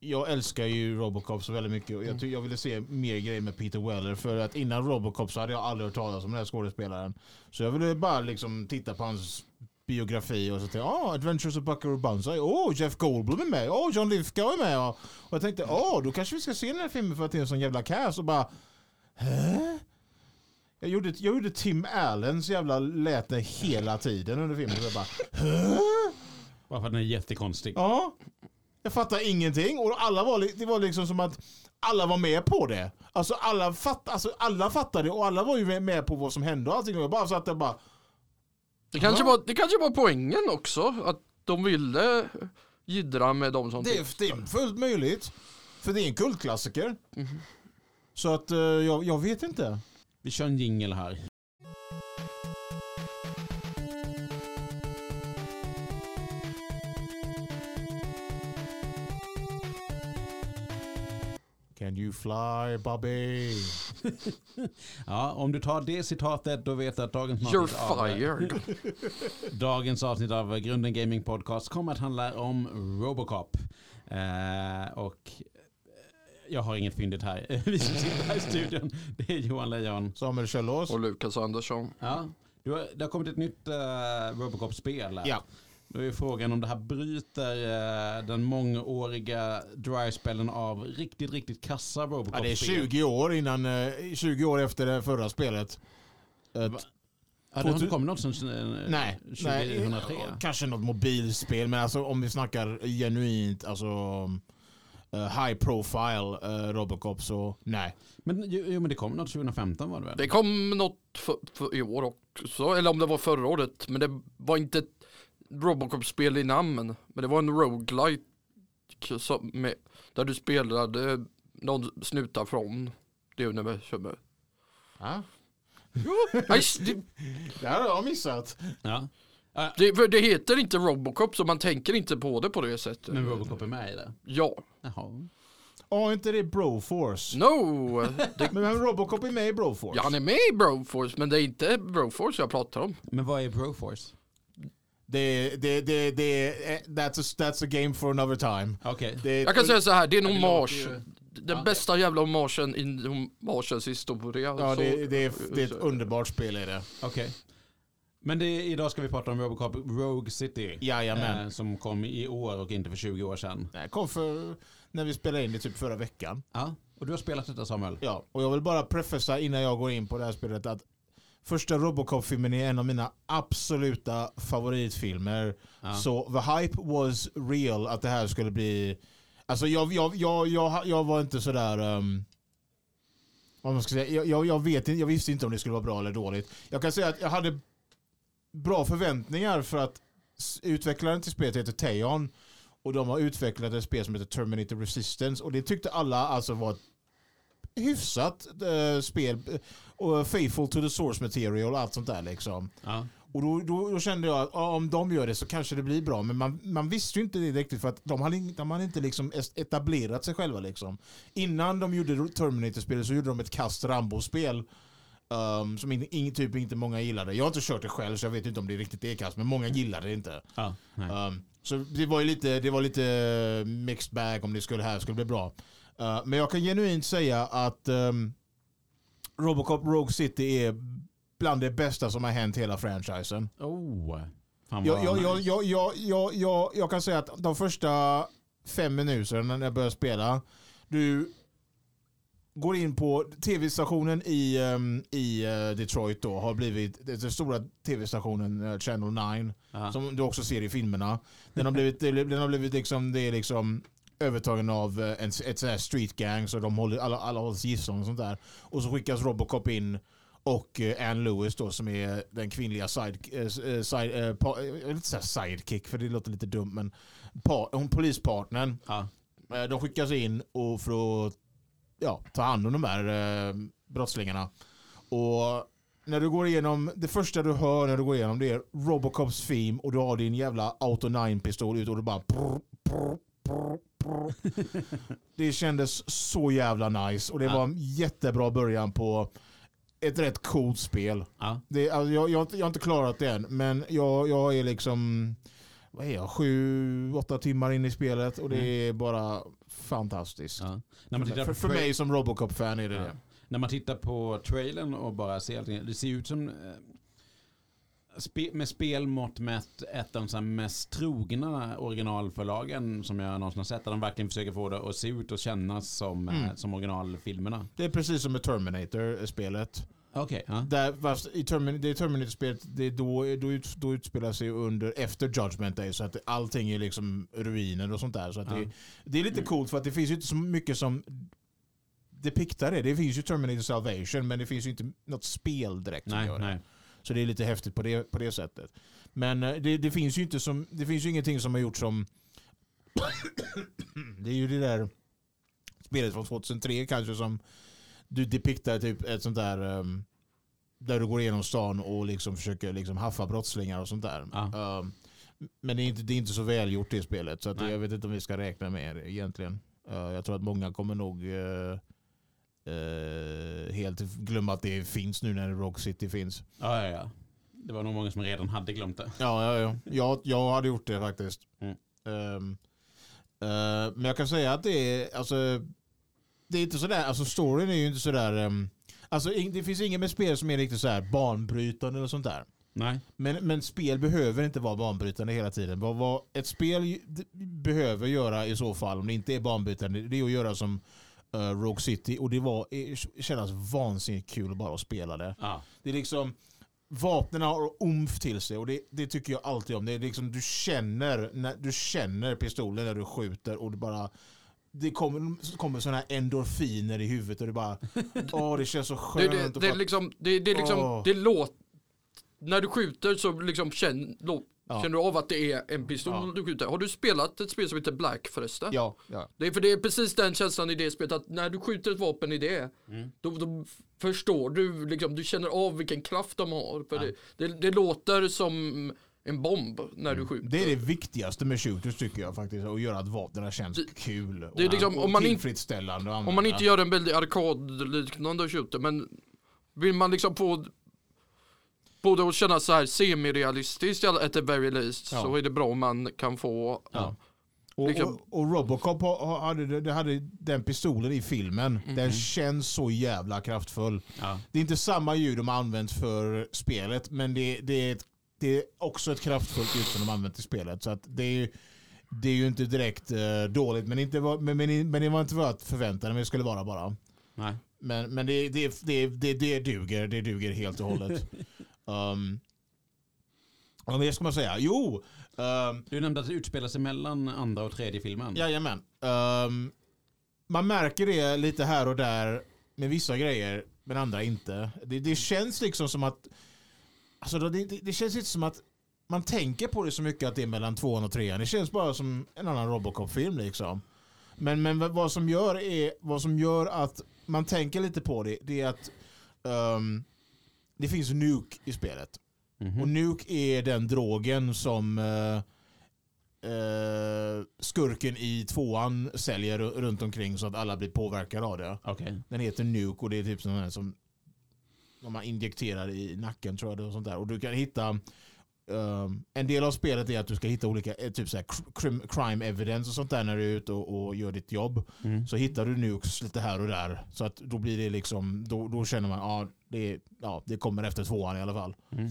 jag älskar ju Robocop så väldigt mycket och jag, ty- jag ville se mer grejer med Peter Weller för att innan Robocop så hade jag aldrig hört talas om den här skådespelaren. Så jag ville bara liksom titta på hans biografi och så tänkte jag ah, Adventures of Buckaroo Banzai, åh oh, Jeff Goldblum är med, åh oh, John Lithgow är med. Och, och jag tänkte åh då kanske vi ska se den här filmen för att det är en sån jävla cast och bara Hä? Jag gjorde, jag gjorde Tim Allens jävla läte hela tiden under filmen. Så jag bara, Bara för att den är jättekonstig. Ja. Jag fattar ingenting och alla var, li- det var liksom som att alla var med på det. Alltså alla, fatt, alltså alla fattade och alla var ju med- med på vad som hände och allting. Och jag bara satt där och bara... Det kanske, var, det kanske var poängen också, att de ville jiddra med de som... Det är, det är fullt möjligt. För det är en kultklassiker. Så att eh, jag, jag vet inte. Vi kör en jingle här. Can you fly Bobby? Ja, om du tar det citatet då vet du att dagens You're avsnitt av- fired. Dagens avsnitt av Grunden Gaming Podcast kommer att handla om Robocop. Eh, och jag har inget fyndigt här. Vi som sitter här i studion, det är Johan Lejon. Samuel Källås. Och Lukas Andersson. Ja, du har, det har kommit ett nytt eh, Robocop-spel. här. Ja. Då är frågan om det här bryter eh, den mångåriga dry-spelen av riktigt, riktigt kassa Robocop-spel. ja. Det är 20 år innan, eh, 20 år efter det förra spelet. Eh, Ja, det har inte kommit något sedan eh, Nej, nej, 2003. kanske något mobilspel, men alltså om vi snackar genuint, alltså eh, high profile eh, Robocop så nej. Men, jo, jo, men det kom något 2015 var det väl? Det kom något för, för i år också, eller om det var förra året, men det var inte ett Robocop-spel i namn, men det var en roguelike som med, där du spelade någon snutar från det universumet. Ja, Nej, det, det här har jag missat. Ja. det, för det heter inte Robocop så man tänker inte på det på det sättet. Men Robocop är med i det? Ja, Jaha. Ja, inte det Broforce? no, det, Men, men Robocop är med i Broforce? Mm. ja, han är med i Broforce men det är inte Broforce jag pratar om. Men vad är Broforce? Det, det, det, det, eh, that's, a, that's a game for another time. Okej. Det, Jag kan säga så här, det är en det låter hommage. ju- Den Ja. bästa jävla hommagen i hommagens historia. ja, Så- det, det, är, det är ett underbart spel är det. Okej. Men det, är- idag ska vi prata om Robocop Rogue City. Jajamän. Eh, som kom i år och inte för 20 år sedan. Det kom för, när vi spelade in det typ förra veckan. Ja. Och du har spelat detta Samuel? Ja, och jag vill bara prefacea innan jag går in på det här spelet att första Robocop-filmen är en av mina absoluta favoritfilmer. Ja. Så the hype was real att det här skulle bli... Alltså jag, jag, jag, jag, jag var inte sådär... Um, vad man ska säga. Jag, jag, jag, vet, inte- jag visste inte om det skulle vara bra eller dåligt. Jag kan säga att jag hade bra förväntningar för att s- utvecklaren till spelet heter Teon. Och de har utvecklat ett spel som heter Terminator Resistance. Och det tyckte alla alltså var ett hyfsat eh, spel. Och faithful to the source material och allt sånt där liksom. Ja. Och då, då, då kände jag att ja, om de gör det så kanske det blir bra. Men man, man visste ju inte det riktigt för att de hade, in- de hade inte liksom es- etablerat sig själva. Liksom. Innan de gjorde Terminator-spelet så gjorde de ett kast Rambo-spel. ehm, som in, in, typ inte många gillade. Jag har inte kört det själv så jag vet inte om det riktigt är kast. Men många gillade det inte. Ja. Nej. Ehm, så det var ju lite, det var lite eh, mixed bag om det skulle här skulle bli bra. Eh, men jag kan genuint säga att ehm, Robocop Rogue City är bland det bästa som har hänt hela franchisen. Oh. Fan vad Jag, jag, jag, nice. jag, jag, jag, jag, jag kan säga att de första fem minuterna när jag började spela, du går in på tv-stationen i, ehm, i eh, Detroit då, har blivit den stora tv-stationen eh, Channel 9, Ja. som du också ser i filmerna. Den har blivit, eh, den har blivit liksom, det är liksom övertagen av eh, en, ett sånt här street gang, så de håller, alla, alla hålls gisslan och sånt där. Och så skickas Robocop in och eh, Ann Lewis då som är den kvinnliga side, eh, s- eh, side, eh, pa, jag vill inte säga sidekick för det låter lite dumt men pa, hon polispartnern. Ja. Eh, De skickas in och för att ja, ta hand om de här eh, brottslingarna. Och när du går igenom, det första du hör när du går igenom det är Robocops theme och du har din jävla Auto 9-pistol ut och du bara prr, prr, prr, prr. Det kändes så jävla nice och det Ja. var en jättebra början på ett rätt coolt spel. Ja. Det, alltså, jag, jag, har inte- jag har inte klarat det än, men jag, jag är liksom... vad är jag, sju, åtta timmar in i spelet och det är bara fantastiskt. Mm. Ja. När, man tittar För, på för tra- mig som Robocop-fan är det Ja. det. när man tittar på trailern och bara ser allting. Det ser ut som eh, spe, med spelmått mätt ett av de så här mest trogna originalförlagen som jag någonsin har sett. Där de verkligen försöker få det att se ut och kännas som, eh, Mm. som originalfilmerna. Det är precis som med Terminator-spelet. Okej, ja. Där, fast i Termin- det Terminator-spelet, det är då, då, ut, då utspelar sig under, efter Judgment Day, så att det- allting är liksom ruiner och sånt där. Så att Ja. Mm. det, det är lite coolt för att det finns ju inte så mycket som depiktar det. Det finns ju Terminator Salvation, men det finns ju inte något spel direkt som Nej, gör det. nej. Så det är lite häftigt på det, på det sättet. Men eh, det, det finns ju inte som, det finns ju ingenting som har gjort som... det är ju det där spelet från 2003 kanske som du depiktar typ ett sånt där... ehm, där du går igenom stan och liksom försöker liksom haffa brottslingar och sånt där. Ja. Ehm, men det är, inte, det är inte så välgjort det spelet. Så att Nej. jag vet inte om vi ska räkna med det egentligen. Eh, jag tror att många kommer nog eh, eh, helt glömma att det finns nu när Rock City finns. Ja, ja, ja. Det var nog många som redan hade glömt det. Ja, ja, ja. Jag, jag hade gjort det faktiskt. Mm. Ehm, eh, men jag kan säga att det är, alltså, det är inte sådär, alltså storyn är ju inte sådär, um, alltså ing- det finns inget med spel som är riktigt sådär banbrytande eller sånt där. Nej. Men, men spel behöver inte vara banbrytande hela tiden. Vad, vad ett spel ju- d- behöver göra i så fall, om det inte är banbrytande, det är att göra som uh, Rogue City och det var, eh, kändes vansinnigt kul bara att spela det. Ja. Det är liksom Vapnen har omf till sig och det, det tycker jag alltid om. Det är liksom, du, känner, när, du känner pistolen när du skjuter och det bara det kommer, kommer sådana här endorfiner i huvudet och det bara Åh det känns så Det, skönt. det, och det är bara- liksom, det, det är liksom, Åh. det låt När du skjuter så liksom känn, lå, Ja. känner du av att det är en pistol Ja. du skjuter. Har du spelat ett spel som heter Black förresten? ja, ja. Det är för det är precis den känslan i det spelet att när du skjuter ett vapen i det Mm. då, då f- förstår du, liksom, du känner av vilken kraft de har. För det, det, det låter som en bomb när du skjuter. Mm. Det är det viktigaste med shooters tycker jag faktiskt. Att göra att vapnen känns Det- kul och, det är liksom- och om man inte- tillfredsställande. att Om man använda. inte gör en väldigt arkadliknande shooter men vill man liksom få både att känna så här semirealistiskt eller at the very least Ja. så är det bra om man kan få Ja. Och, Liksom- och, och Robocop ha- ha- hade, det- det hade den pistolen i Mm. filmen. Den känns så jävla kraftfull. Ja. Det är inte samma ljud de har använt för spelet, men det, det, är, ett, det är också ett kraftfullt ljud som de har använt i spelet. Så att det, är ju, det är ju inte direkt eh, dåligt, men, inte var, men, men, men det var inte vad jag förväntade mig det skulle vara bara. Nej. Men, men det, det, det, det, det duger. Det duger helt och hållet. um, och det ska man säga. Jo! ehm, Du nämnde att det utspelar sig mellan andra och tredje filmen. Jajamän. Um, man märker det lite här och där med vissa grejer, men andra inte. Det, det känns liksom som att... Alltså det, det, det känns inte som att man tänker på det så mycket att det är mellan tvåan och trean. Det känns bara som en annan Robocop-film liksom. Men, men vad- vad som gör är vad som gör att man tänker lite på det, det är att ehm, det finns Nuke i spelet. Mhm. Och Nuke är den drogen som eh, eh, skurken i tvåan säljer ru- runt omkring så att alla blir påverkade av det. Okej. Den heter Nuke och det är typ sån här som som man injekterar i nacken tror jag. det är Och, sånt där. och du kan hitta eh, en del av spelet är att du ska hitta olika eh, typ så här cr- crim- crime evidence och sånt där när du är ute och, och gör ditt jobb. Mm. Så hittar du nukes lite här och där. Så att då blir det liksom, då, då känner man ja, det, är- ja, det kommer efter tvåan i alla fall. Mm.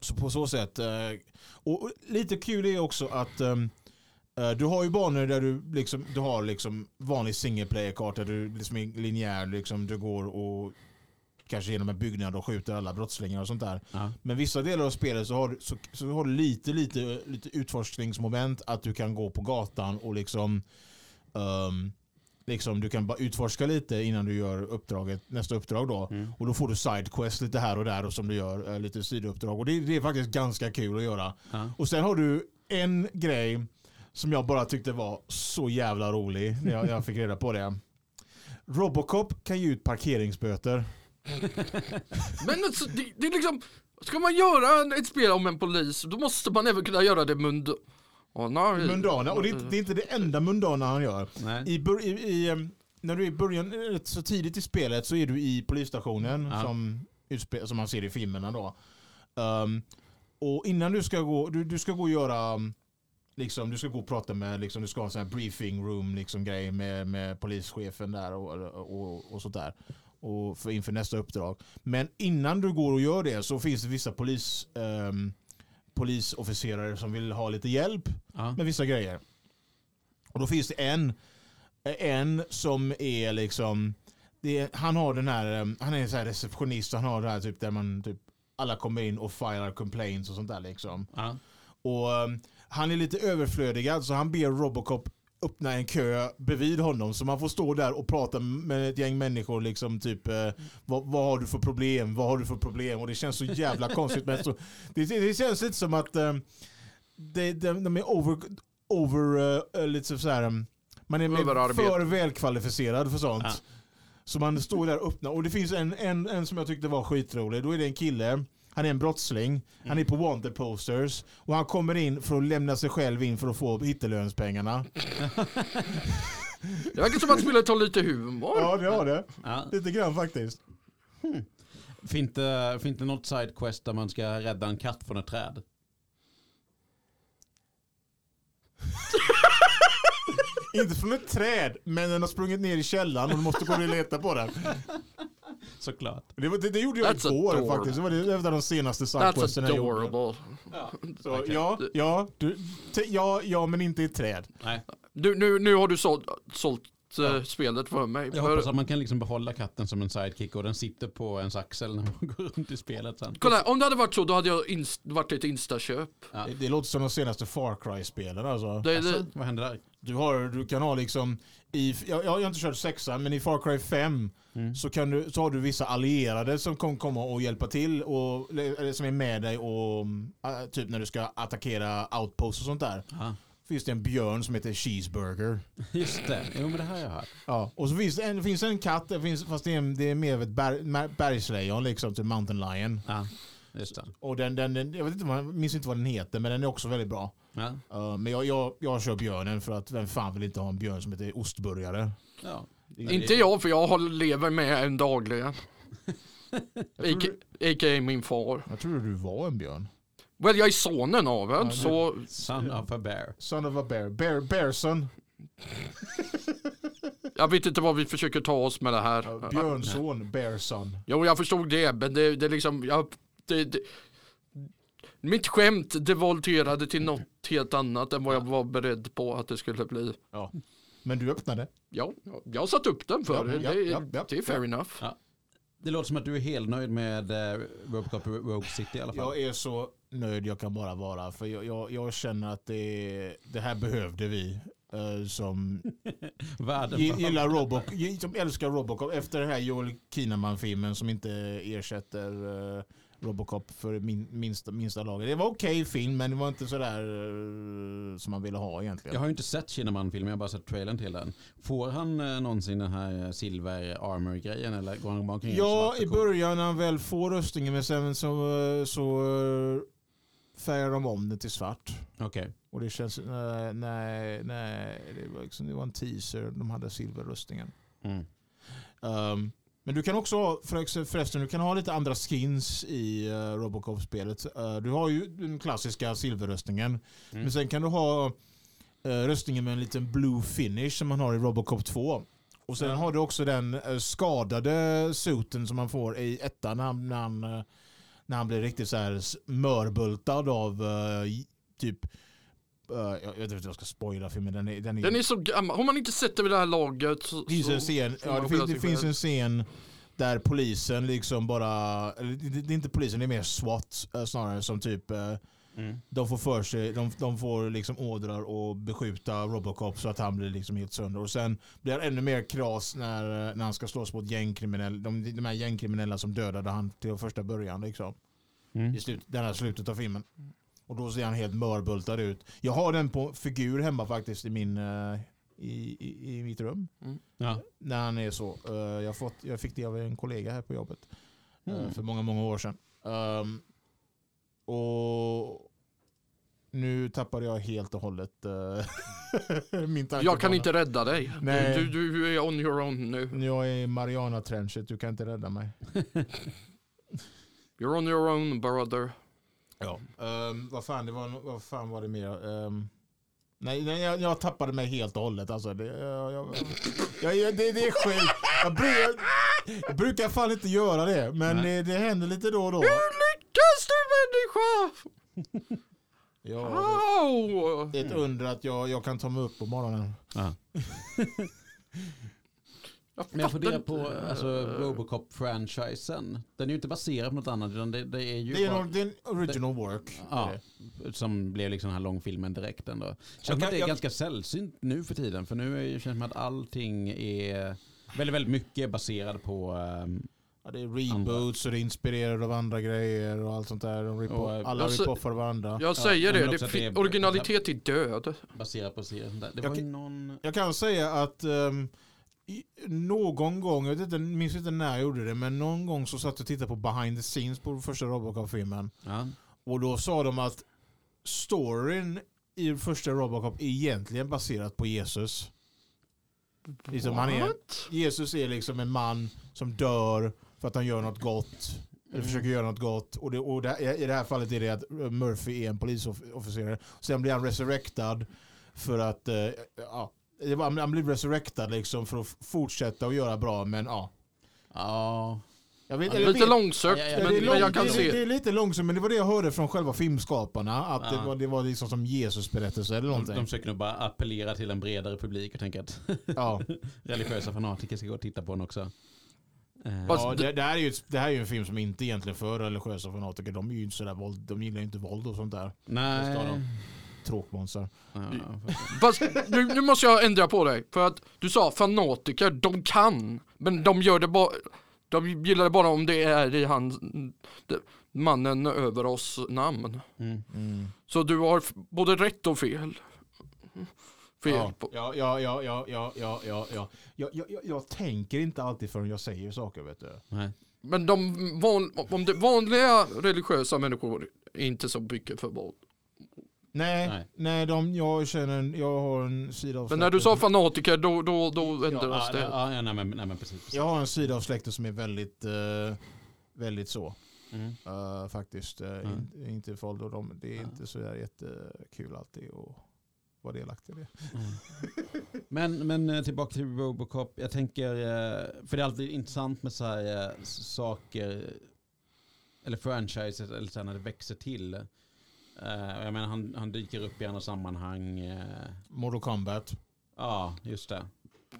Så på så sätt. eh, Och och lite kul är också att ehm, eh, du har ju banor där du liksom, du har liksom vanlig single player-karta. Du liksom är linjär, liksom, du går och kanske genom en byggnad och skjuter alla brottslingar och sånt där. Ja. Men vissa delar av spelet så har du, så, så har du lite, lite, lite utforskningsmoment att du kan gå på gatan och liksom, ehm, liksom du kan bara utforska lite innan du gör uppdraget, nästa uppdrag då. Mm. Och då får du sidequest lite här och där och som du gör eh, lite sidouppdrag. Och det, det är faktiskt ganska kul att göra. Ja. Och sen har du en grej som jag bara tyckte var så jävla rolig när jag, jag fick reda på det. Robocop kan ge ut parkeringsböter. Men alltså, det, det är liksom, ska man göra en- ett spel om en polis då måste man även kunna göra det mund... Oh, nej. Mm. Mundana, och det är, inte- det är inte det enda mundana han gör. Nej. I, bör- i, i, em, när du är i början, eh, rätt så tidigt i spelet, så är du i polisstationen Ja. som, utspe- som man ser i filmerna. Då. Ehm, Och innan du ska gå, du, du ska gå och göra, um, liksom, du ska gå och prata med, liksom, du ska ha en sån här briefing room liksom, grej med, med polischefen där och, och, och sånt där. Och för, inför nästa uppdrag. Men innan du går och gör det så finns det vissa polis, ehm, polisofficerare som vill ha lite hjälp Ja. med vissa grejer. Och då finns det en, en som är liksom, det är, han har den här, eh, han är så här receptionist, han har det här typ där man typ, alla kommer in och filar complaints och sånt där liksom. Ja. Och eh, han är lite överflödigad så han ber Robocop öppna en kö bredvid honom så man får stå där och prata med ett gäng människor liksom typ eh, vad, vad har du för problem, vad har du för problem och det känns så jävla konstigt men så, det, det känns lite som att eh, det, de, de är over, over eh, eh, lite så här, eh, man är mer Överarbetad. för välkvalificerad för sånt. Ja. Så man står där och öppnar. Och det finns en, en, en som jag tyckte var skitrolig. Då är det en kille. Han är en brottsling. Han är på wanted posters. Och han kommer in för att lämna sig själv in för att få hittelönspengarna. Det verkar som att han ta lite humor. Ja, det har det. Ja. Lite grann faktiskt. Finns det, finns det något sidequest där man ska rädda en katt från ett träd? Inte från ett träd, men den har sprungit ner i källaren och du måste gå och leta på den. Såklart. Det, var- det, det gjorde jag That's igår adorable. faktiskt. Det var det- det var en av de senaste That's sidequesten jag gjorde. adorable. Så, ja, ja, du, te, ja, ja, men inte i ett träd. Nej, Du, nu, nu har du sålt, sålt eh, spelet för mig. jag För- hoppas att man kan liksom behålla katten som en sidekick och den sitter på ens axel när man går runt i spelet sen. Kolla, här, om det hade varit så då hade jag inst- varit ett instaköp. Ja. Det, det låter som de senaste Far Cry-spelen alltså. Det, det, Alltså, vad händer där? Du, har, du kan ha liksom, i, jag, jag har inte kört sexan, men i Far Cry 5 Mm. så, kan du, så har du vissa allierade som kommer komma och hjälpa till och eller, som är med dig och äh, typ när du ska attackera outposts och sånt där. Ja, Finns det en björn som heter Cheeseburger. just det. Jo, men det här har jag hört. Ja. Och så finns det en, finns det en katt, det finns, fast det är, en, det är mer av ett berg, bergslejon liksom, typ Mountain Lion. Ja, just det. Och den, den, den, jag vet inte, vad- jag minns inte vad den heter, men den är också väldigt bra. Ja, Eh, men jag, jag, jag kör björnen för att vem fan vill inte ha en björn som heter ostburgare? ja. inte jag för jag har- lever med en dagligen. tror A.k.a. min far. Jag trodde du var en björn. Well, jag är sonen av en, det- så Son of a bear. Son of a bear. bear bearson. jag vet inte vad vi försöker ta oss med det här. Ja, Björnson. Bearson. Jo, jag förstod det, men det, det är liksom, jag, det, det, mitt skämt devolterade till något helt annat än vad jag var beredd på att det skulle bli. Ja. Men du öppnade. Ja, jag har satt upp den för Ja, er. ja, det, är- ja, ja, det är fair enough. Det låter som att du är helt nöjd med eh, Robocop Rogue City i alla fall. Jag är så nöjd jag kan bara vara. För jag, jag, jag känner att det, det här behövde vi. eh, som Världen gi- gillar Robocop, gi- som älskar Robocop. Efter den här Joel Kinnaman-filmen som inte ersätter eh, Robocop för min, minsta, minsta laget. Det var okej film men det var inte sådär eh, som man ville ha egentligen. Jag har ju inte sett Kinnaman-filmen, jag har bara sett trailern till den. Får han eh, någonsin den här eh, silver armor-grejen eller går han bara omkring Ja, svart och i cool? början när han väl får röstningen men sen så, eh, så eh, färgar de om det till svart. Okej, Och det känns, nej, nej, nej det, var liksom, det var en teaser, de hade silverröstningen. mm. Ehm, men du kan också, ha- för- förresten, du kan ha lite andra skins i eh, Robocop-spelet. Eh, du har ju den klassiska silverröstningen, men sen kan du ha eh, röstningen med en liten blue finish som man har i Robocop 2. Och sen har du också den eh, skadade suiten som man får i ettan när han, när han, eh, när han blir riktigt så här s- mörbultad av eh, j- typ eh, jag vet inte vad jag ska spoila filmen. Den är, den är, Den är så gammal, har man inte sett det vid det här laget så... det finns så en scen, får ja, man det skylla finns, det sig finns själv. en scen där polisen liksom bara, eller det, det är inte polisen, det är mer SWAT eh, snarare som typ eh, Mm. de får för sig, de, de får liksom ordrar att beskjuta Robocop så att han blir liksom helt sönder. Och sen blir han ännu mer kras när, eh, när han ska slåss mot gängkriminella, de, de här gängkriminella som dödade han till första början liksom. Mm. I slut, den här slutet av filmen. Och då ser han helt mörbultad ut. Jag har den på figur hemma faktiskt i min, eh, i, i, i mitt rum. Ja. När han är så. Eh, jag, har fått, jag fick det av en kollega här på jobbet eh, Mm. för många, många år sedan. Ehm, och nu tappade jag helt och hållet eh, min tanke. Jag kan inte rädda dig. Nej. Du, du, du är on your own nu. Jag är i Mariana-trenchet, du kan inte rädda mig. You're on your own brother. Ja. Ehm, vad, fan, det var, no- vad fan var det mer? Ehm, nej, nej jag, jag tappade mig helt och hållet. Alltså, det, jag, jag, jag, jag, det, det är skit. Jag, bru- jag, jag brukar fan inte göra det, men det, det händer lite då och då. Hur lyckas du människa? Ja, Wow! det är ett under att jag, jag kan ta mig upp på morgonen. Men jag funderar fattar på inte. alltså, Robocop-franchisen. Den är ju inte baserad på något annat utan det, det är ju Det är, bara- nog- det är en original work. Ja, Det är det. som blev liksom den här långfilmen direkt ändå. Känns som kan- att det är jag- ganska sällsynt nu för tiden. För nu är, ju- känns det som att allting är väldigt, väldigt mycket baserad på ehm, Ja, det är reboots och det är inspirerat av andra grejer och allt sånt där. De rip Och- alla Alltså, rip-offar varandra. Jag säger men det, också det, att det fi- är- originalitet är död. baserat på serier och sånt där. Det Jag var ju kan- någon... Jag kan säga att ehm, i- någon gång, jag vet inte, minns inte när jag gjorde det, men någon gång så satt jag och tittade på behind the scenes på första Robocop-filmen. Ja. Och då sa de att storyn i första Robocop är egentligen baserat på Jesus. Liksom han är, What? Jesus är liksom en man som dör för att han gör något gott. Eller försöker göra något gott. Och, det, och det, här- i det här fallet är det att Murphy är en polisofficer. Sen blir han resurrectad för att... Eh, ja, det var- han blir resurrectad liksom för att f- fortsätta att göra bra, men ja. Ja. Jag vet, eller Lite vet- långsökt, Ja, ja, ja. Ja, men, det, är men lång, jag kan det, se. det, det är lite långsamt, men det var det jag hörde från själva filmskaparna. Att Ja. det, var, det var liksom som Jesus berättelse eller De, någonting. de försöker nog bara appellera till en bredare publik och tänka att ja. religiösa fanatiker ska gå och titta på den också. Eh, Fast Ja, Alltså, det- det, det, här är ju, ett- det här är ju en film som inte egentligen är för religiösa fanatiker. De, är ju inte sådär våld, de gillar ju inte våld och sånt där. nej. det står de. Tråkmånsar. Ja, faktiskt. Fast nu, nu måste jag ändra på dig. För att du sa fanatiker, de kan. Men de gör det bara. De gillar det bara om det är i hans, det- mannen över oss namn. Mm. Mm. Så du har f- både rätt och fel. Fel. Ja, på- ja, ja, ja, ja, ja, ja, ja, ja. Jag, jag, jag, jag tänker inte alltid förrän jag säger saker, vet du. Nej. Men de van, om det vanliga religiösa människor är inte så mycket för våld. Nej, Nej. nej, de, jag känner, en- jag har en sida av Men när du sa släkten- fanatiker då, då, då ändras Ja, det. ja, ja, nej, men, nej, men precis. precis. Jag har en sida av släkten som är väldigt, eh, väldigt så. Mm. Eh, faktiskt. eh, Mm. Ja. in, inte våld och de, det är Ja. inte så där jättekul alltid att vara delaktig i det. Men, men eh, tillbaka till Robocop. Jag tänker, eh, för det är alltid intressant med så här eh, s- saker, eller franchises, eller så här när det växer till. Eh, och Jag menar, han, han dyker upp i andra sammanhang. eh, Mortal Kombat. Ja, just det.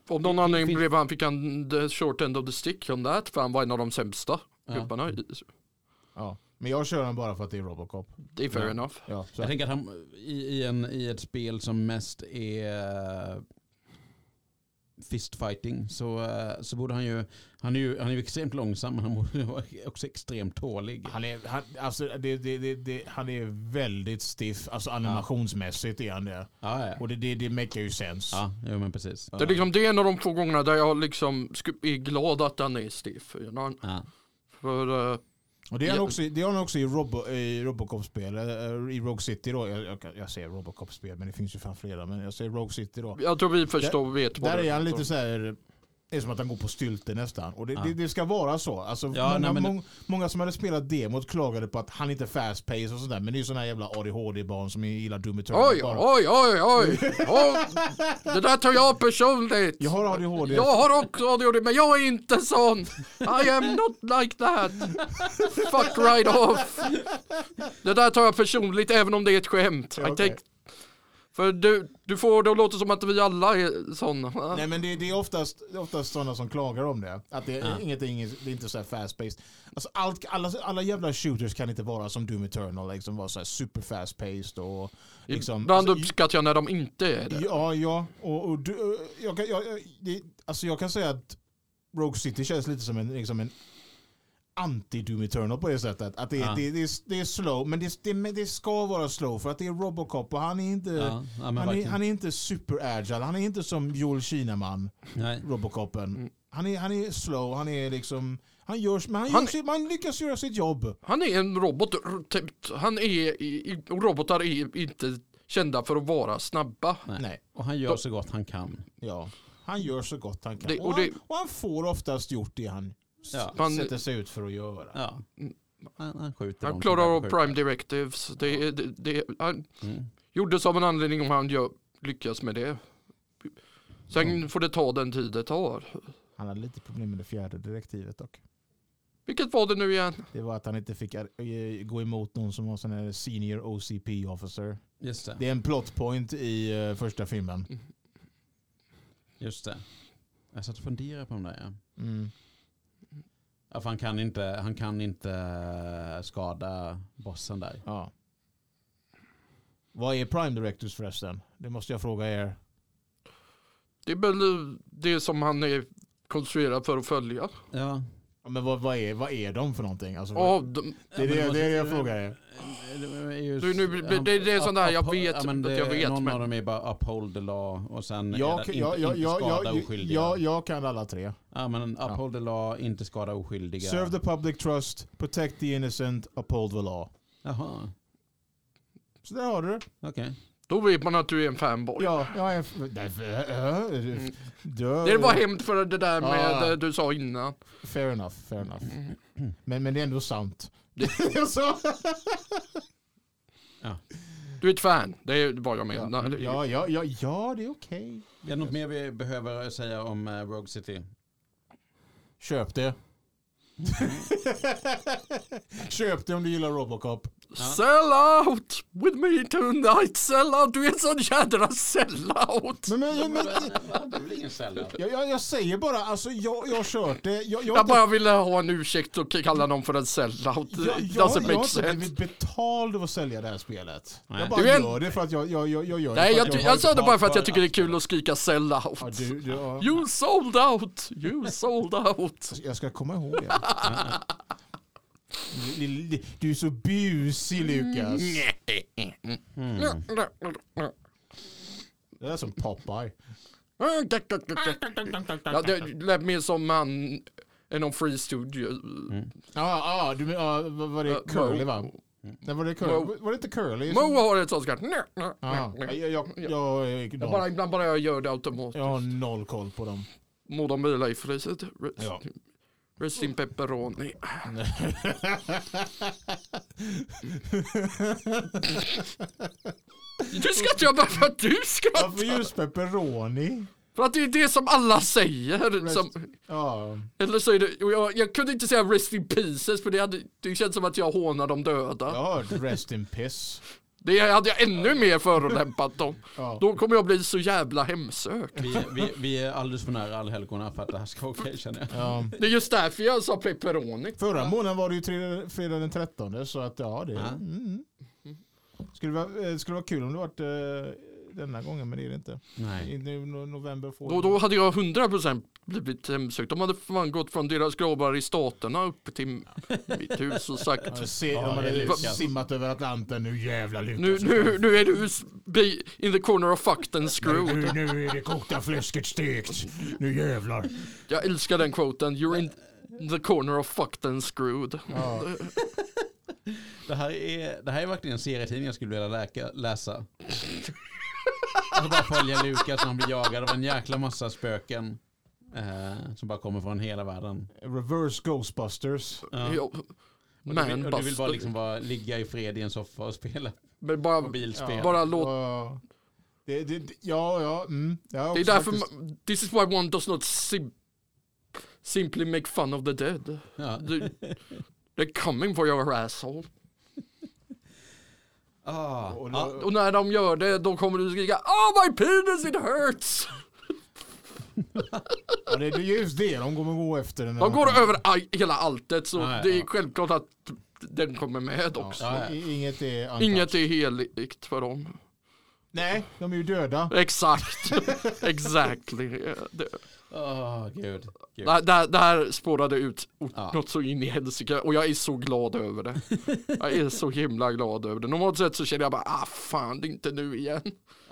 Av någon anledning Finns- blev han, fick han the short end of the stick om det för han var en av de sämsta Ja. gubbarna. i- Ja. Men jag kör den bara för att det är Robocop. Det är fair Ja. enough. Ja, så. Jag tänker att han i, i, en, i ett spel som mest är fistfighting så, eh, så borde han ju, han är ju, han är ju extremt långsam men han borde vara också extremt tålig. Han är, han, alltså, det, det, det, det, han är väldigt stiff, alltså animationsmässigt är han det. Ja, ja. Och det, det, det maker ju sense. ja jo, men precis. Det är, liksom, det är en av de få gångerna där jag liksom sku- är glad att han är stiff. you know. Ja. För, eh, Och det är han Ja. också, i- det är han också i, Robo, i Robocop-spel, eh, i Rogue City då. Jag, jag, kan- jag säger Robocop-spel, men det finns ju fan flera. Men jag säger Rogue City då. jag tror vi förstår och vet Där är han lite så. så här... Det är som att han går på stylter nästan. Och det, Ja. det, det ska vara så. Alltså, Ja, många, nej, men det- mång- många som hade spelat demot klagade på att han inte är fast pace och sådär. Men det är ju sådana jävla ADHD-barn som gillar Doom Eternal. Oj, Bara- oj, oj, oj. Ja, det där tar jag personligt. Jag har ADHD. Jag har också ADHD, men jag är inte sån. I am not like that. Fuck right off. Det där tar jag personligt, även om det är ett skämt. I Okej. take... För du, du får det att låta som att vi alla är såna. Nej men det, det är oftast, det är oftast sådana som klagar om det. Att det, är inget, inget, det är inte så här fast paced. Alltså allt, alla, alla jävla shooters kan inte vara som Doom Eternal, liksom vara så här super fast paced och liksom... Ibland alltså, uppskattar jag när de inte är det. ja, ja. Och, och du, eh, jag, kan, jag, jag- det, alltså jag kan säga att Rogue City känns lite som en, liksom en anti-Doom Eternal på det sättet. Att det, Ja. är det, det, är, det är slow, men det, det, men det ska vara slow för att det är Robocop och han är inte, Ja, Eh, ja, men han är, verkligen. han är inte super agile. Han är inte som Joel Kinnaman. Nej. Robocopen. Mm. Han, är, han är slow, han är liksom... Han, görs, men han, Han- gör sitt, man lyckas göra sitt jobb. Han är en robot. r- typ. Han är, i- i- och robotar är inte kända för att vara snabba. Nej. Nej. Och han gör så gott han kan. Ja. Han gör så gott han kan. Det- och och, det- han, och han får oftast gjort det han s- Ja. Han- sätter sig ut för att göra. Ja. Han, han skjuter Mm. Han dem klarar av som behöver Prime Directives. Det, är- det, det, han skjuta. Mm. gjordes av en anledning om han gör, lyckas med det. Sen Mm. får det ta den tid det tar. Han hade lite problem med det fjärde direktivet dock. Vilket var det nu igen? Det var att han inte fick eh, gå emot någon som var sån här senior OCP officer. Just det. Det är en plot point i eh, första filmen. Just det. Jag satt och funderade på om det. Ja. Mm. Ja, för han, kan inte, han kan inte skada bossen där. Ja. Vad är Prime Directors förresten? Det måste jag fråga er. Det är väl det som han är konstruerad för att följa. Mm. Ja. Ja, Men vad, vad, är, vad är de för någonting? Alltså, vad- Ja, de, det är det, det, är det jag frågar er. Du, nu- det- det- det är sån där jag vet att jag vet, Någon men- av dem är bara uphold the law och sen är Jag, det jag, inte, jag, inte jag, skada jag, oskyldiga. jag, jag kan alla tre. ja, men uphold the law, inte skada oskyldiga. Serve the public trust, protect the innocent, uphold the law. Jaha, Så där har du det. okej. då vet man att du är en fanboy. Ja, jag är... f- därför- äh, äh, Mm. dö- Det var hämnd för det där med Ja. det du sa innan. Fair enough, fair enough. Men, men det är ändå sant. jag sa. Du är ett fan, det är vad jag menar. Ja, ja, ja, ja, det är okej. Är det något mer vi behöver säga om eh, Rogue City? Köp det. Köp det om du gillar Robocop. Sell out with me tonight, sell out. Du är en sån jädra sell out. Men, men, men, Det är väl ingen sällan. jag, jag, jag säger bara, alltså jag, jag har kört det. Jag, jag, Jag bara ville ha en ursäkt och kalla någon för en sell out. jag, jag, jag Doesn't har make inte sense. blivit betald av att sälja det här spelet. Nej. Jag bara Du är en- gör det för att jag, jag, jag, jag gör det. Nej, för jag, att jag, har sa det bara för att jag betalt tycker det är kul att skrika sell Ja, out. du, du, ja. You sold out, you sold out. Jag ska komma ihåg det. Du- Du är så busig Lukas. Mm. Det är som Popeye. Ja, det lät mer som han än om Free Studio. Ja, ah, ah, du men- ah, vad var det Mo. Curly va? Mm. Nej, var, det curly? Mo. var det inte Curly? Mo har ett sånt skratt. Ah, jag, jag, jag, jag, jag, Jag bara, ibland bara jag gör det automatiskt. jag har noll koll på dem. Må de vila i friset. Rest, Ja. rest in pepperoni. Du skrattar jag bara för att du Varför skrattar. just pepperoni? För att det är det som alla säger. Som, Ja, eller så är det, och jag, jag kunde inte säga rest in pieces för det, hade, det känns som att jag hånar de döda. jag har hört rest in piss. Det hade jag ännu mer förolämpat dem. Ja. Då kommer jag bli så jävla hemsökt. Vi, vi, vi är alldeles för nära allhelgona för att det här ska vara okej känner jag. Ja. Det är just därför jag sa pepperoni. Förra månaden var det ju tre- fredag den 13 så att ja, det... Ja. Mm. Skulle, vara, eh, skulle vara kul om det varit eh, denna gången, men det är det inte. Nej. I nu- no- november får Då, då hade jag 100% blivit hemsökt. De hade fan gått från deras gravar i staterna upp till mitt hus och sagt Ja, se, Ja, de hade det är Lukas. simmat över Atlanten, nu jävla Lukas. nu, nu, nu är du s- bi- in the corner of fucked and screwed. Nu, nu är det kokta fläsket stekt. Nu jävlar. Jag älskar den quoten. You're in the corner of fucked and screwed. Ja. Det här är, det här är verkligen en serietidning jag skulle vilja läka, läsa. Alltså bara följa Lukas när han blir jagad av en jäkla massa spöken. Eh, som bara kommer från hela världen. Reverse Ghostbusters. Ja. Ja. Och du, vill, och du vill bara Manbuster. liksom bara ligga i fred i en soffa och spela Men bara, mobilspel. bara låt. Ja, det, det, det- ja, ja. Mm. Jag har Det är också därför, faktiskt- ma- this is why one does not sim- simply make fun of the dead. Ja. Du, they're coming for your asshole. Ah. och Ah. då- Och när de gör det då kommer du skrika Oh my penis it hurts! ja, det, det är just det de kommer gå efter. Den De går över aj- hela alltet så Ja, ja, det är ja. självklart att den kommer med Ja, också. Ja, ja. i- Inget är untouched. Inget är heligt för dem. Nej, de är ju döda. Exakt. Exactly. Det, Åh, ah, gud. gud. det, här- det, här- det här spårade ut o- Ja. något så in i helsike och jag är så glad över det. Jag är så himla glad över det. Normalt sett så känner jag bara ah fan det är inte nu igen.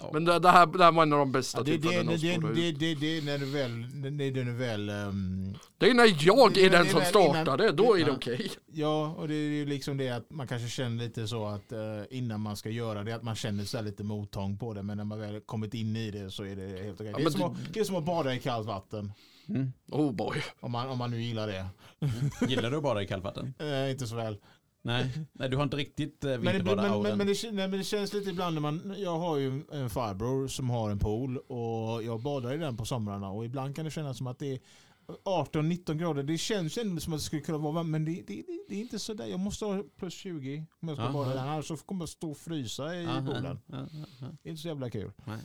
Ja. Men det, det, här, det här var en av de bästa Ja, det, det, tillfällena det, att det, spåra det, ut. det, det är när du väl... När du väl ehm, Det är när jag det- är den det- som det- startar det, då är det Ja. okej. ja, och det är ju liksom det att man kanske känner lite så att eh, innan man ska göra det, att man känner sig lite mottång på det. Men när man väl kommit in i det så är det helt okej. Ja, det, är men som att- det är som att bada i kallt vatten. Mm. Oh boy. Om man, om man nu gillar det. Gillar du bara i kallvatten? Eh, inte så väl. Nej. Nej. Nej, du har inte riktigt eh, Men det, blir- men, vinterbada-auran. men, men, det, kän- nej, men det känns lite ibland när man, jag har ju en farbror som har en pool och jag badar i den på somrarna och ibland kan det kännas som att det är 18-19 grader. Det känns ju ändå som att det skulle kunna vara varmt men det, det, det, det är inte sådär. Jag måste ha plus 20 om jag ska Aha. bada i den annars så kommer jag stå och frysa i Aha, poolen. aha, aha. Det är inte så jävla kul. Nej.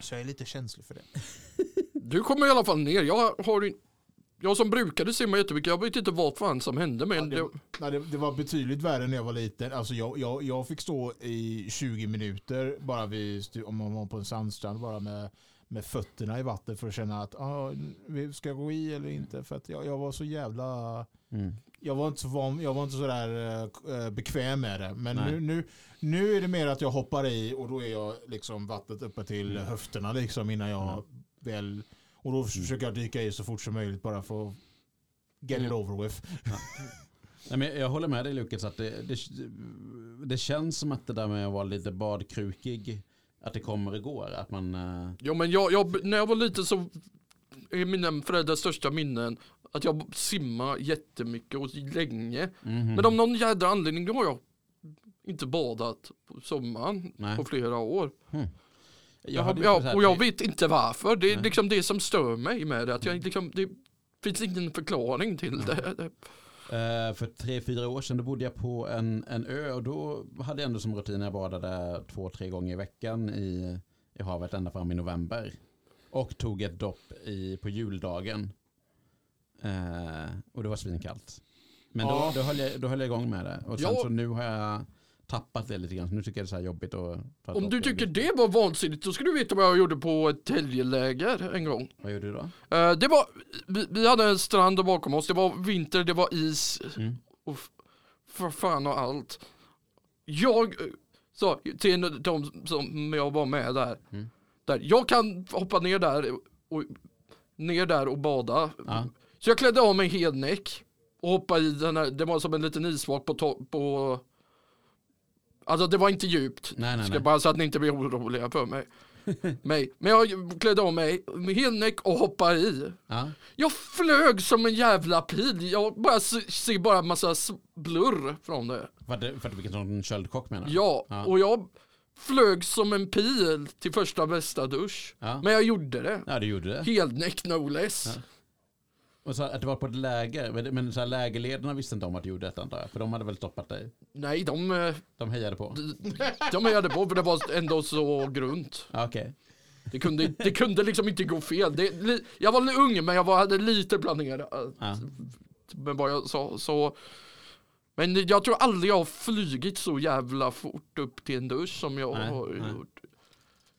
Så jag är lite känslig för det. Du kommer i alla fall ner. Jag har ju- jag som brukade simma jättemycket, jag vet inte vad fan som hände men Ja, det, Nej, det, det var betydligt värre när jag var liten. Alltså jag, jag, jag fick stå i 20 minuter bara vid, stu- om man var på en sandstrand bara med, med fötterna i vatten för att känna att ah, vi ska jag gå i eller inte. För att jag, jag var så jävla... Mm. Jag var inte så, van, jag var inte så där, eh, k- eh, bekväm med det. Men Nej. nu, nu, nu är det mer att jag hoppar i och då är jag liksom vattnet uppe till Mm. höfterna liksom innan jag Mm. väl... Och då försöker jag dyka i så fort som möjligt bara för att get it Mm. over with. Nej, men jag håller med dig Lukas att det, det, det känns som att det där med att vara lite badkrukig, att det kommer och går. Att man, eh, ja, men jag, jag, när jag var liten så är mina föräldrars största minnen att jag simmade jättemycket och länge. mhm. Mm. Men av någon jädra anledning då har jag inte badat på sommaren Nej. på flera år. Jag hade ju så ja, här- och jag vet inte varför. Det är Nej. Mm. liksom det som stör mig med det. Att jag liksom, det finns ingen förklaring till det. Det- Eh, för tre, fyra år sedan då bodde jag på en, en ö och då hade jag ändå som rutin jag badade två, tre gånger i veckan i, i havet ända fram i november. Och tog ett dopp i, på juldagen. Eh, och det var svinkallt. Men Ja. då, då, höll jag, då höll jag igång med det. Och sen Ja. så nu har jag tappat det lite grann. Så nu tycker jag det är så här jobbigt att ta ett Om dopp du i tycker augusti. det var vansinnigt så ska du veta vad jag gjorde på ett helgeläger en gång. Vad gjorde du då? Eh, Det var, vi, vi hade en strand där bakom oss. Det var vinter, det var is Mm. och f- för fan och allt. Jag eh, sa till en av de som jag var med där, Mm. där jag kan hoppa ner där och, ner där och bada. Ja. Så jag klädde av mig helnäck och hoppade i den här, det var som en liten isvak på topp på Alltså det var inte djupt, Nej, nej, ska nej. bara så att ni inte blir oroliga för mig. mig. Men jag klädde av mig med helnäck och hoppade i. Ja. Jag flög som en jävla pil. Jag bara se- ser bara en massa s- blurr från det. För att, det- för att vilken sån köldchock menar du? Ja, Ja. och jag flög som en pil till första bästa dusch. Ja. Men jag gjorde det. ja, du gjorde det. Helnäck no less. Ja. Och så att det var på ett läger, men- men så här lägerledarna visste inte om att du gjorde detta antar jag, för de hade väl stoppat dig. Nej, de, eh, De hejade på. de- de hejade på för det var ändå så grunt. Ja, Okej. Det kunde, det kunde liksom inte gå fel. Det, li- jag var li- ung men jag var, hade lite planerat Ja. med vad jag sa. Så. Men jag tror aldrig jag har flugit så jävla fort upp till en dusch som jag Nej, har nej. gjort.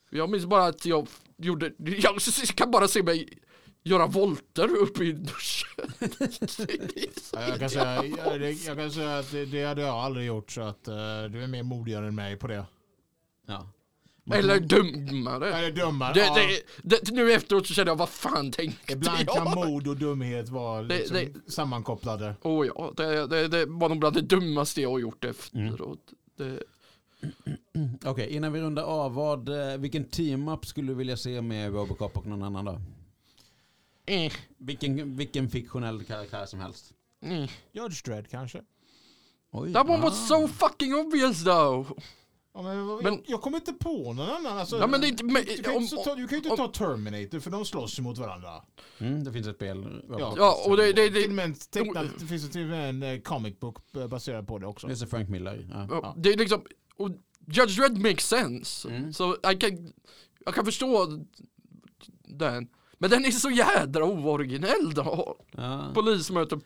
Jag minns bara att jag f- gjorde, jag s- kan bara se mig göra volter upp i duschen. Ja, Jag kan säga, jag, det- jag kan säga att det, det hade jag aldrig gjort så att eh, du är mer modigare än mig på det. Ja. Eller dummare. Eller dummare. Det, ja. det, det, nu efteråt så känner jag, vad fan tänkte Ibland kan jag? mod och dumhet vara Det- liksom sammankopplade. Åh ja, det, det, det var nog bland det dummaste jag har gjort Mm. efteråt. Det, Okej, innan vi rundar av, vad, eh, vilken team-up skulle du vilja se med Robocop och någon annan då? eh, Vilken, vilken fiktionell karaktär som helst. eh. Judge Dredd kanske? Oj, That one ah. was so fucking obvious though. Ja, men, vad- Men- jag, jag kommer inte på någon annan. Alltså, Ja men det är inte... Men, du, kan ju om, inte ta, du kan ju inte om- ta Terminator för de slåss ju mot varandra. Mm, det finns ett spel. Robocop. ja och det... Det, det, till och det med en tecknad, det finns ju till och med en eh, comic book eh, baserad på det också. Just det, Frank Miller. Ja. ja, det är liksom... Och Judge Red makes sense. Mm. Så I can, jag kan förstå den. Men den är så jädra ooriginell då. Ja. Polis möter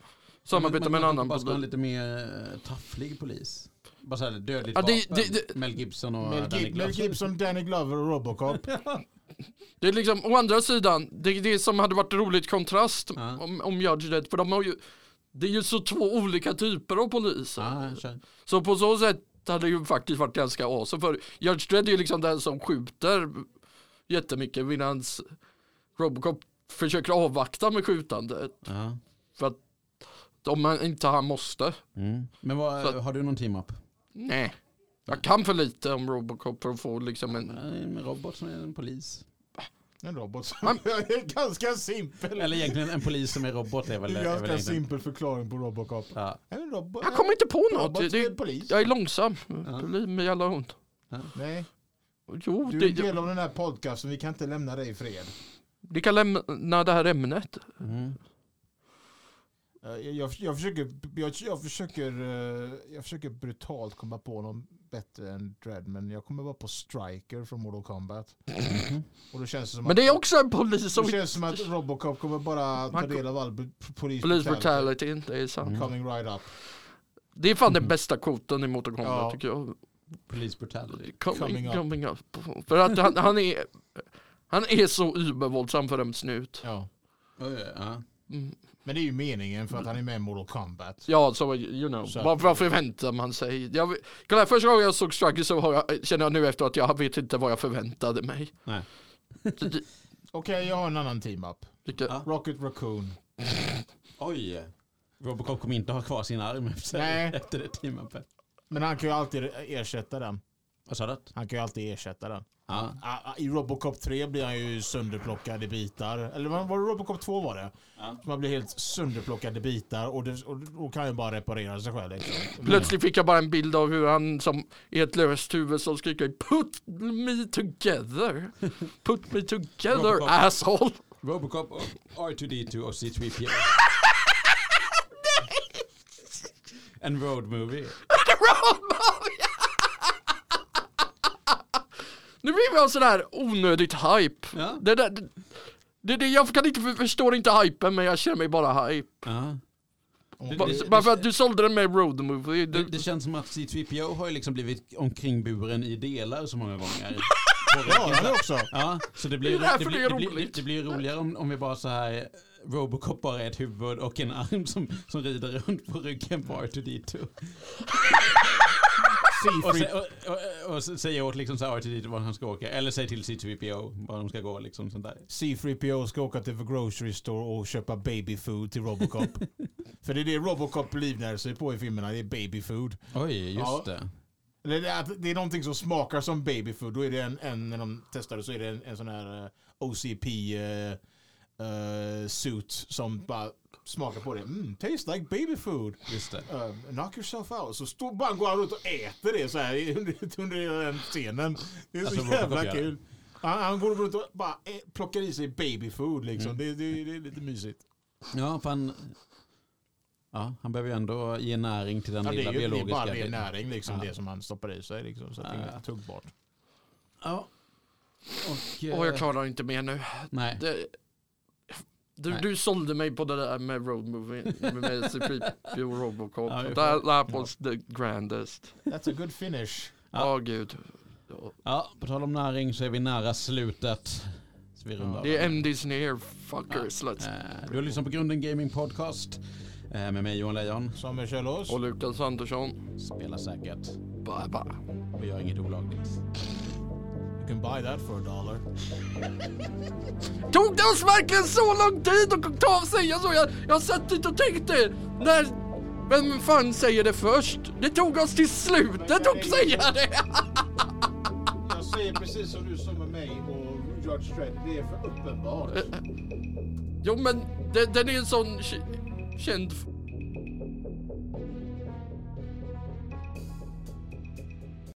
samarbete Man- med en man- annan Bara ska ha en polis. lite mer eh, tafflig polis. Bara så här dödligt Ja, det- vapen. det- det- Mel Gibson och Mel, Gib- Danny Mel Glover. Gibson, Danny Glover och Robocop. Det är liksom, å andra sidan, det är det som hade varit roligt kontrast Ja. om, om Judge Red. För de har ju... Det är ju så två olika typer av poliser. Ja, kör. Så på så sätt hade det ju faktiskt varit ganska awesome. För Judge Dredd är ju liksom den som skjuter jättemycket medan Robocop försöker avvakta med skjutandet. Ja. För att om man inte han måste. Mm. Men vad, Så- har du någon team-up? Nej. Jag kan för lite om Robocop för att få liksom en... En robot som är en polis. En robot som Man- Ganska simpel. Eller egentligen en polis som är robot är väl... Är väl Ganska egentligen- simpel förklaring på Robocop. ja. En robot. Jag kommer inte på en robot något. som är en Det, polis. jag är långsam. Bli med jävla hund. Nej, Jo, du är en Oh, det, del av den här podcasten. Vi kan inte lämna dig i fred. ni kan lämna det här ämnet. Mm. Eh, Jag, jag, jag, försöker, jag, jag, försöker, eh, jag försöker brutalt komma på någon bättre än Dread, men jag kommer bara på Striker från Mortal Kombat. Och då känns det som Mhm. Men att, det är också en polis som... det känns som att Robocop kommer bara ta Man- del av all bu- polis brutality. Police brutality, Mm. det är sant. Coming right up. Det är fan den bästa kvoten i Mortal Kombat Mm. Ja. tycker jag. Polis brutality. Coming Coming, up. coming up. För att han, han är... Han är så übervåldsam för en snut. Ja. Oj, Ja. Mm. Men det är ju meningen för att han är med i Mortal Kombat. Ja, så you know. Så att- Vad, vad förväntar man sig? Jag, vet- kolla, första gången jag såg Struggle så har jag, känner jag nu efter att jag vet inte vad jag förväntade mig. Nej. Det- det- Okej, jag har en annan team-up. vilket- Ja. Rocket Raccoon. Oj. Robocop kommer inte ha kvar sin arm efter, Nej. efter det teamuppet. Men han kan ju alltid ersätta den. Vad sa du? Han kan ju alltid ersätta den. Ja. Ah, ah, I Robocop 3 blir han ju sönderplockad i bitar. Eller var var det Robocop 2 var det? Ja. Man blir helt sönderplockad i bitar och, det, och, och kan ju bara reparera sig själv. Liksom. Plötsligt fick jag bara en bild av hur han som i ett löst huvud som skriker Put me together Put me together Robocop. asshole Robocop, och R2D2 och C3PO. En road movie. Nu blir jag sådär onödigt hype Ja. det, där, det, det, det, Jag kan inte, förstår inte hypen men jag känner mig bara hype Ja. Det, Bara- det, Bara för det, att du sålde den med road movie det, det, det känns som att C3PO har ju liksom blivit omkringburen i delar så många gånger. Ja, han är också. Ja, så det Det blir, är därför det blir, det är det blir, roligt. det blir roligare om, om vi bara så här Robocop bara är ett huvud och en arm som, som rider runt på ryggen på R2D2. Och, C3, sä, och, och, och säger åt liksom så här R2D2 var han ska åka. Eller säg till C3PO var de ska gå liksom sånt där. C3PO ska åka till the grocery store och köpa baby food till Robocop. För det är det Robocop livnär sig på i filmerna, det är baby food. Oj, just Ja. det. Eller det, är att det är någonting som smakar som baby food. Då är det en, en när de testar det så är det en, en sån här eh, OCP eh, eh, suit som bara smakar på det. Mm, tastes like baby food. Just det. Eh, knock yourself out. Så står bara går han runt och äter det så här i- under, under hela den scenen. Det är så Alltså, vad får jävla jag kul. Han, han går runt och bara ä, plockar i sig baby food Mm. liksom. Det, det, det är lite mysigt. Ja, fan. Ja, han behöver ju ändå ge näring till den Ja, det lilla är ju det är biologiska bara det biten. näring liksom. Ja. Det som han stoppar i sig liksom. Så att det är Ja. tuggbart. Ja. Och, Åh, jag eh, klarar inte mer nu Nej. det, du, Nej. du sålde mig på det där med road movie Med C3PO Robocop Ja, vi får- that, that was the grandest That's a good finish. Ja. Ja, gud. Ja, på tal om näring så är vi nära slutet. Så vi rundar Det är av. MD's near fuckers. Let's... Eh, Du har lyssnat på Grunden Gaming Podcast eh, med mig Johan Lejon. Samuel Kjellås. Och Lukas Andersson. Spela säkert Bye bye. och gör inget olagligt. You can buy that for a dollar. Tog det oss verkligen så lång tid att ta av sig? Jag, såg, jag, jag satt dit och tänkte. När, vem fan säger det först? Det tog oss till slutet att säga det. Jag säger precis som du sa med mig och George Strait. Det är för uppenbart. Jo men den, den är en sån k- känd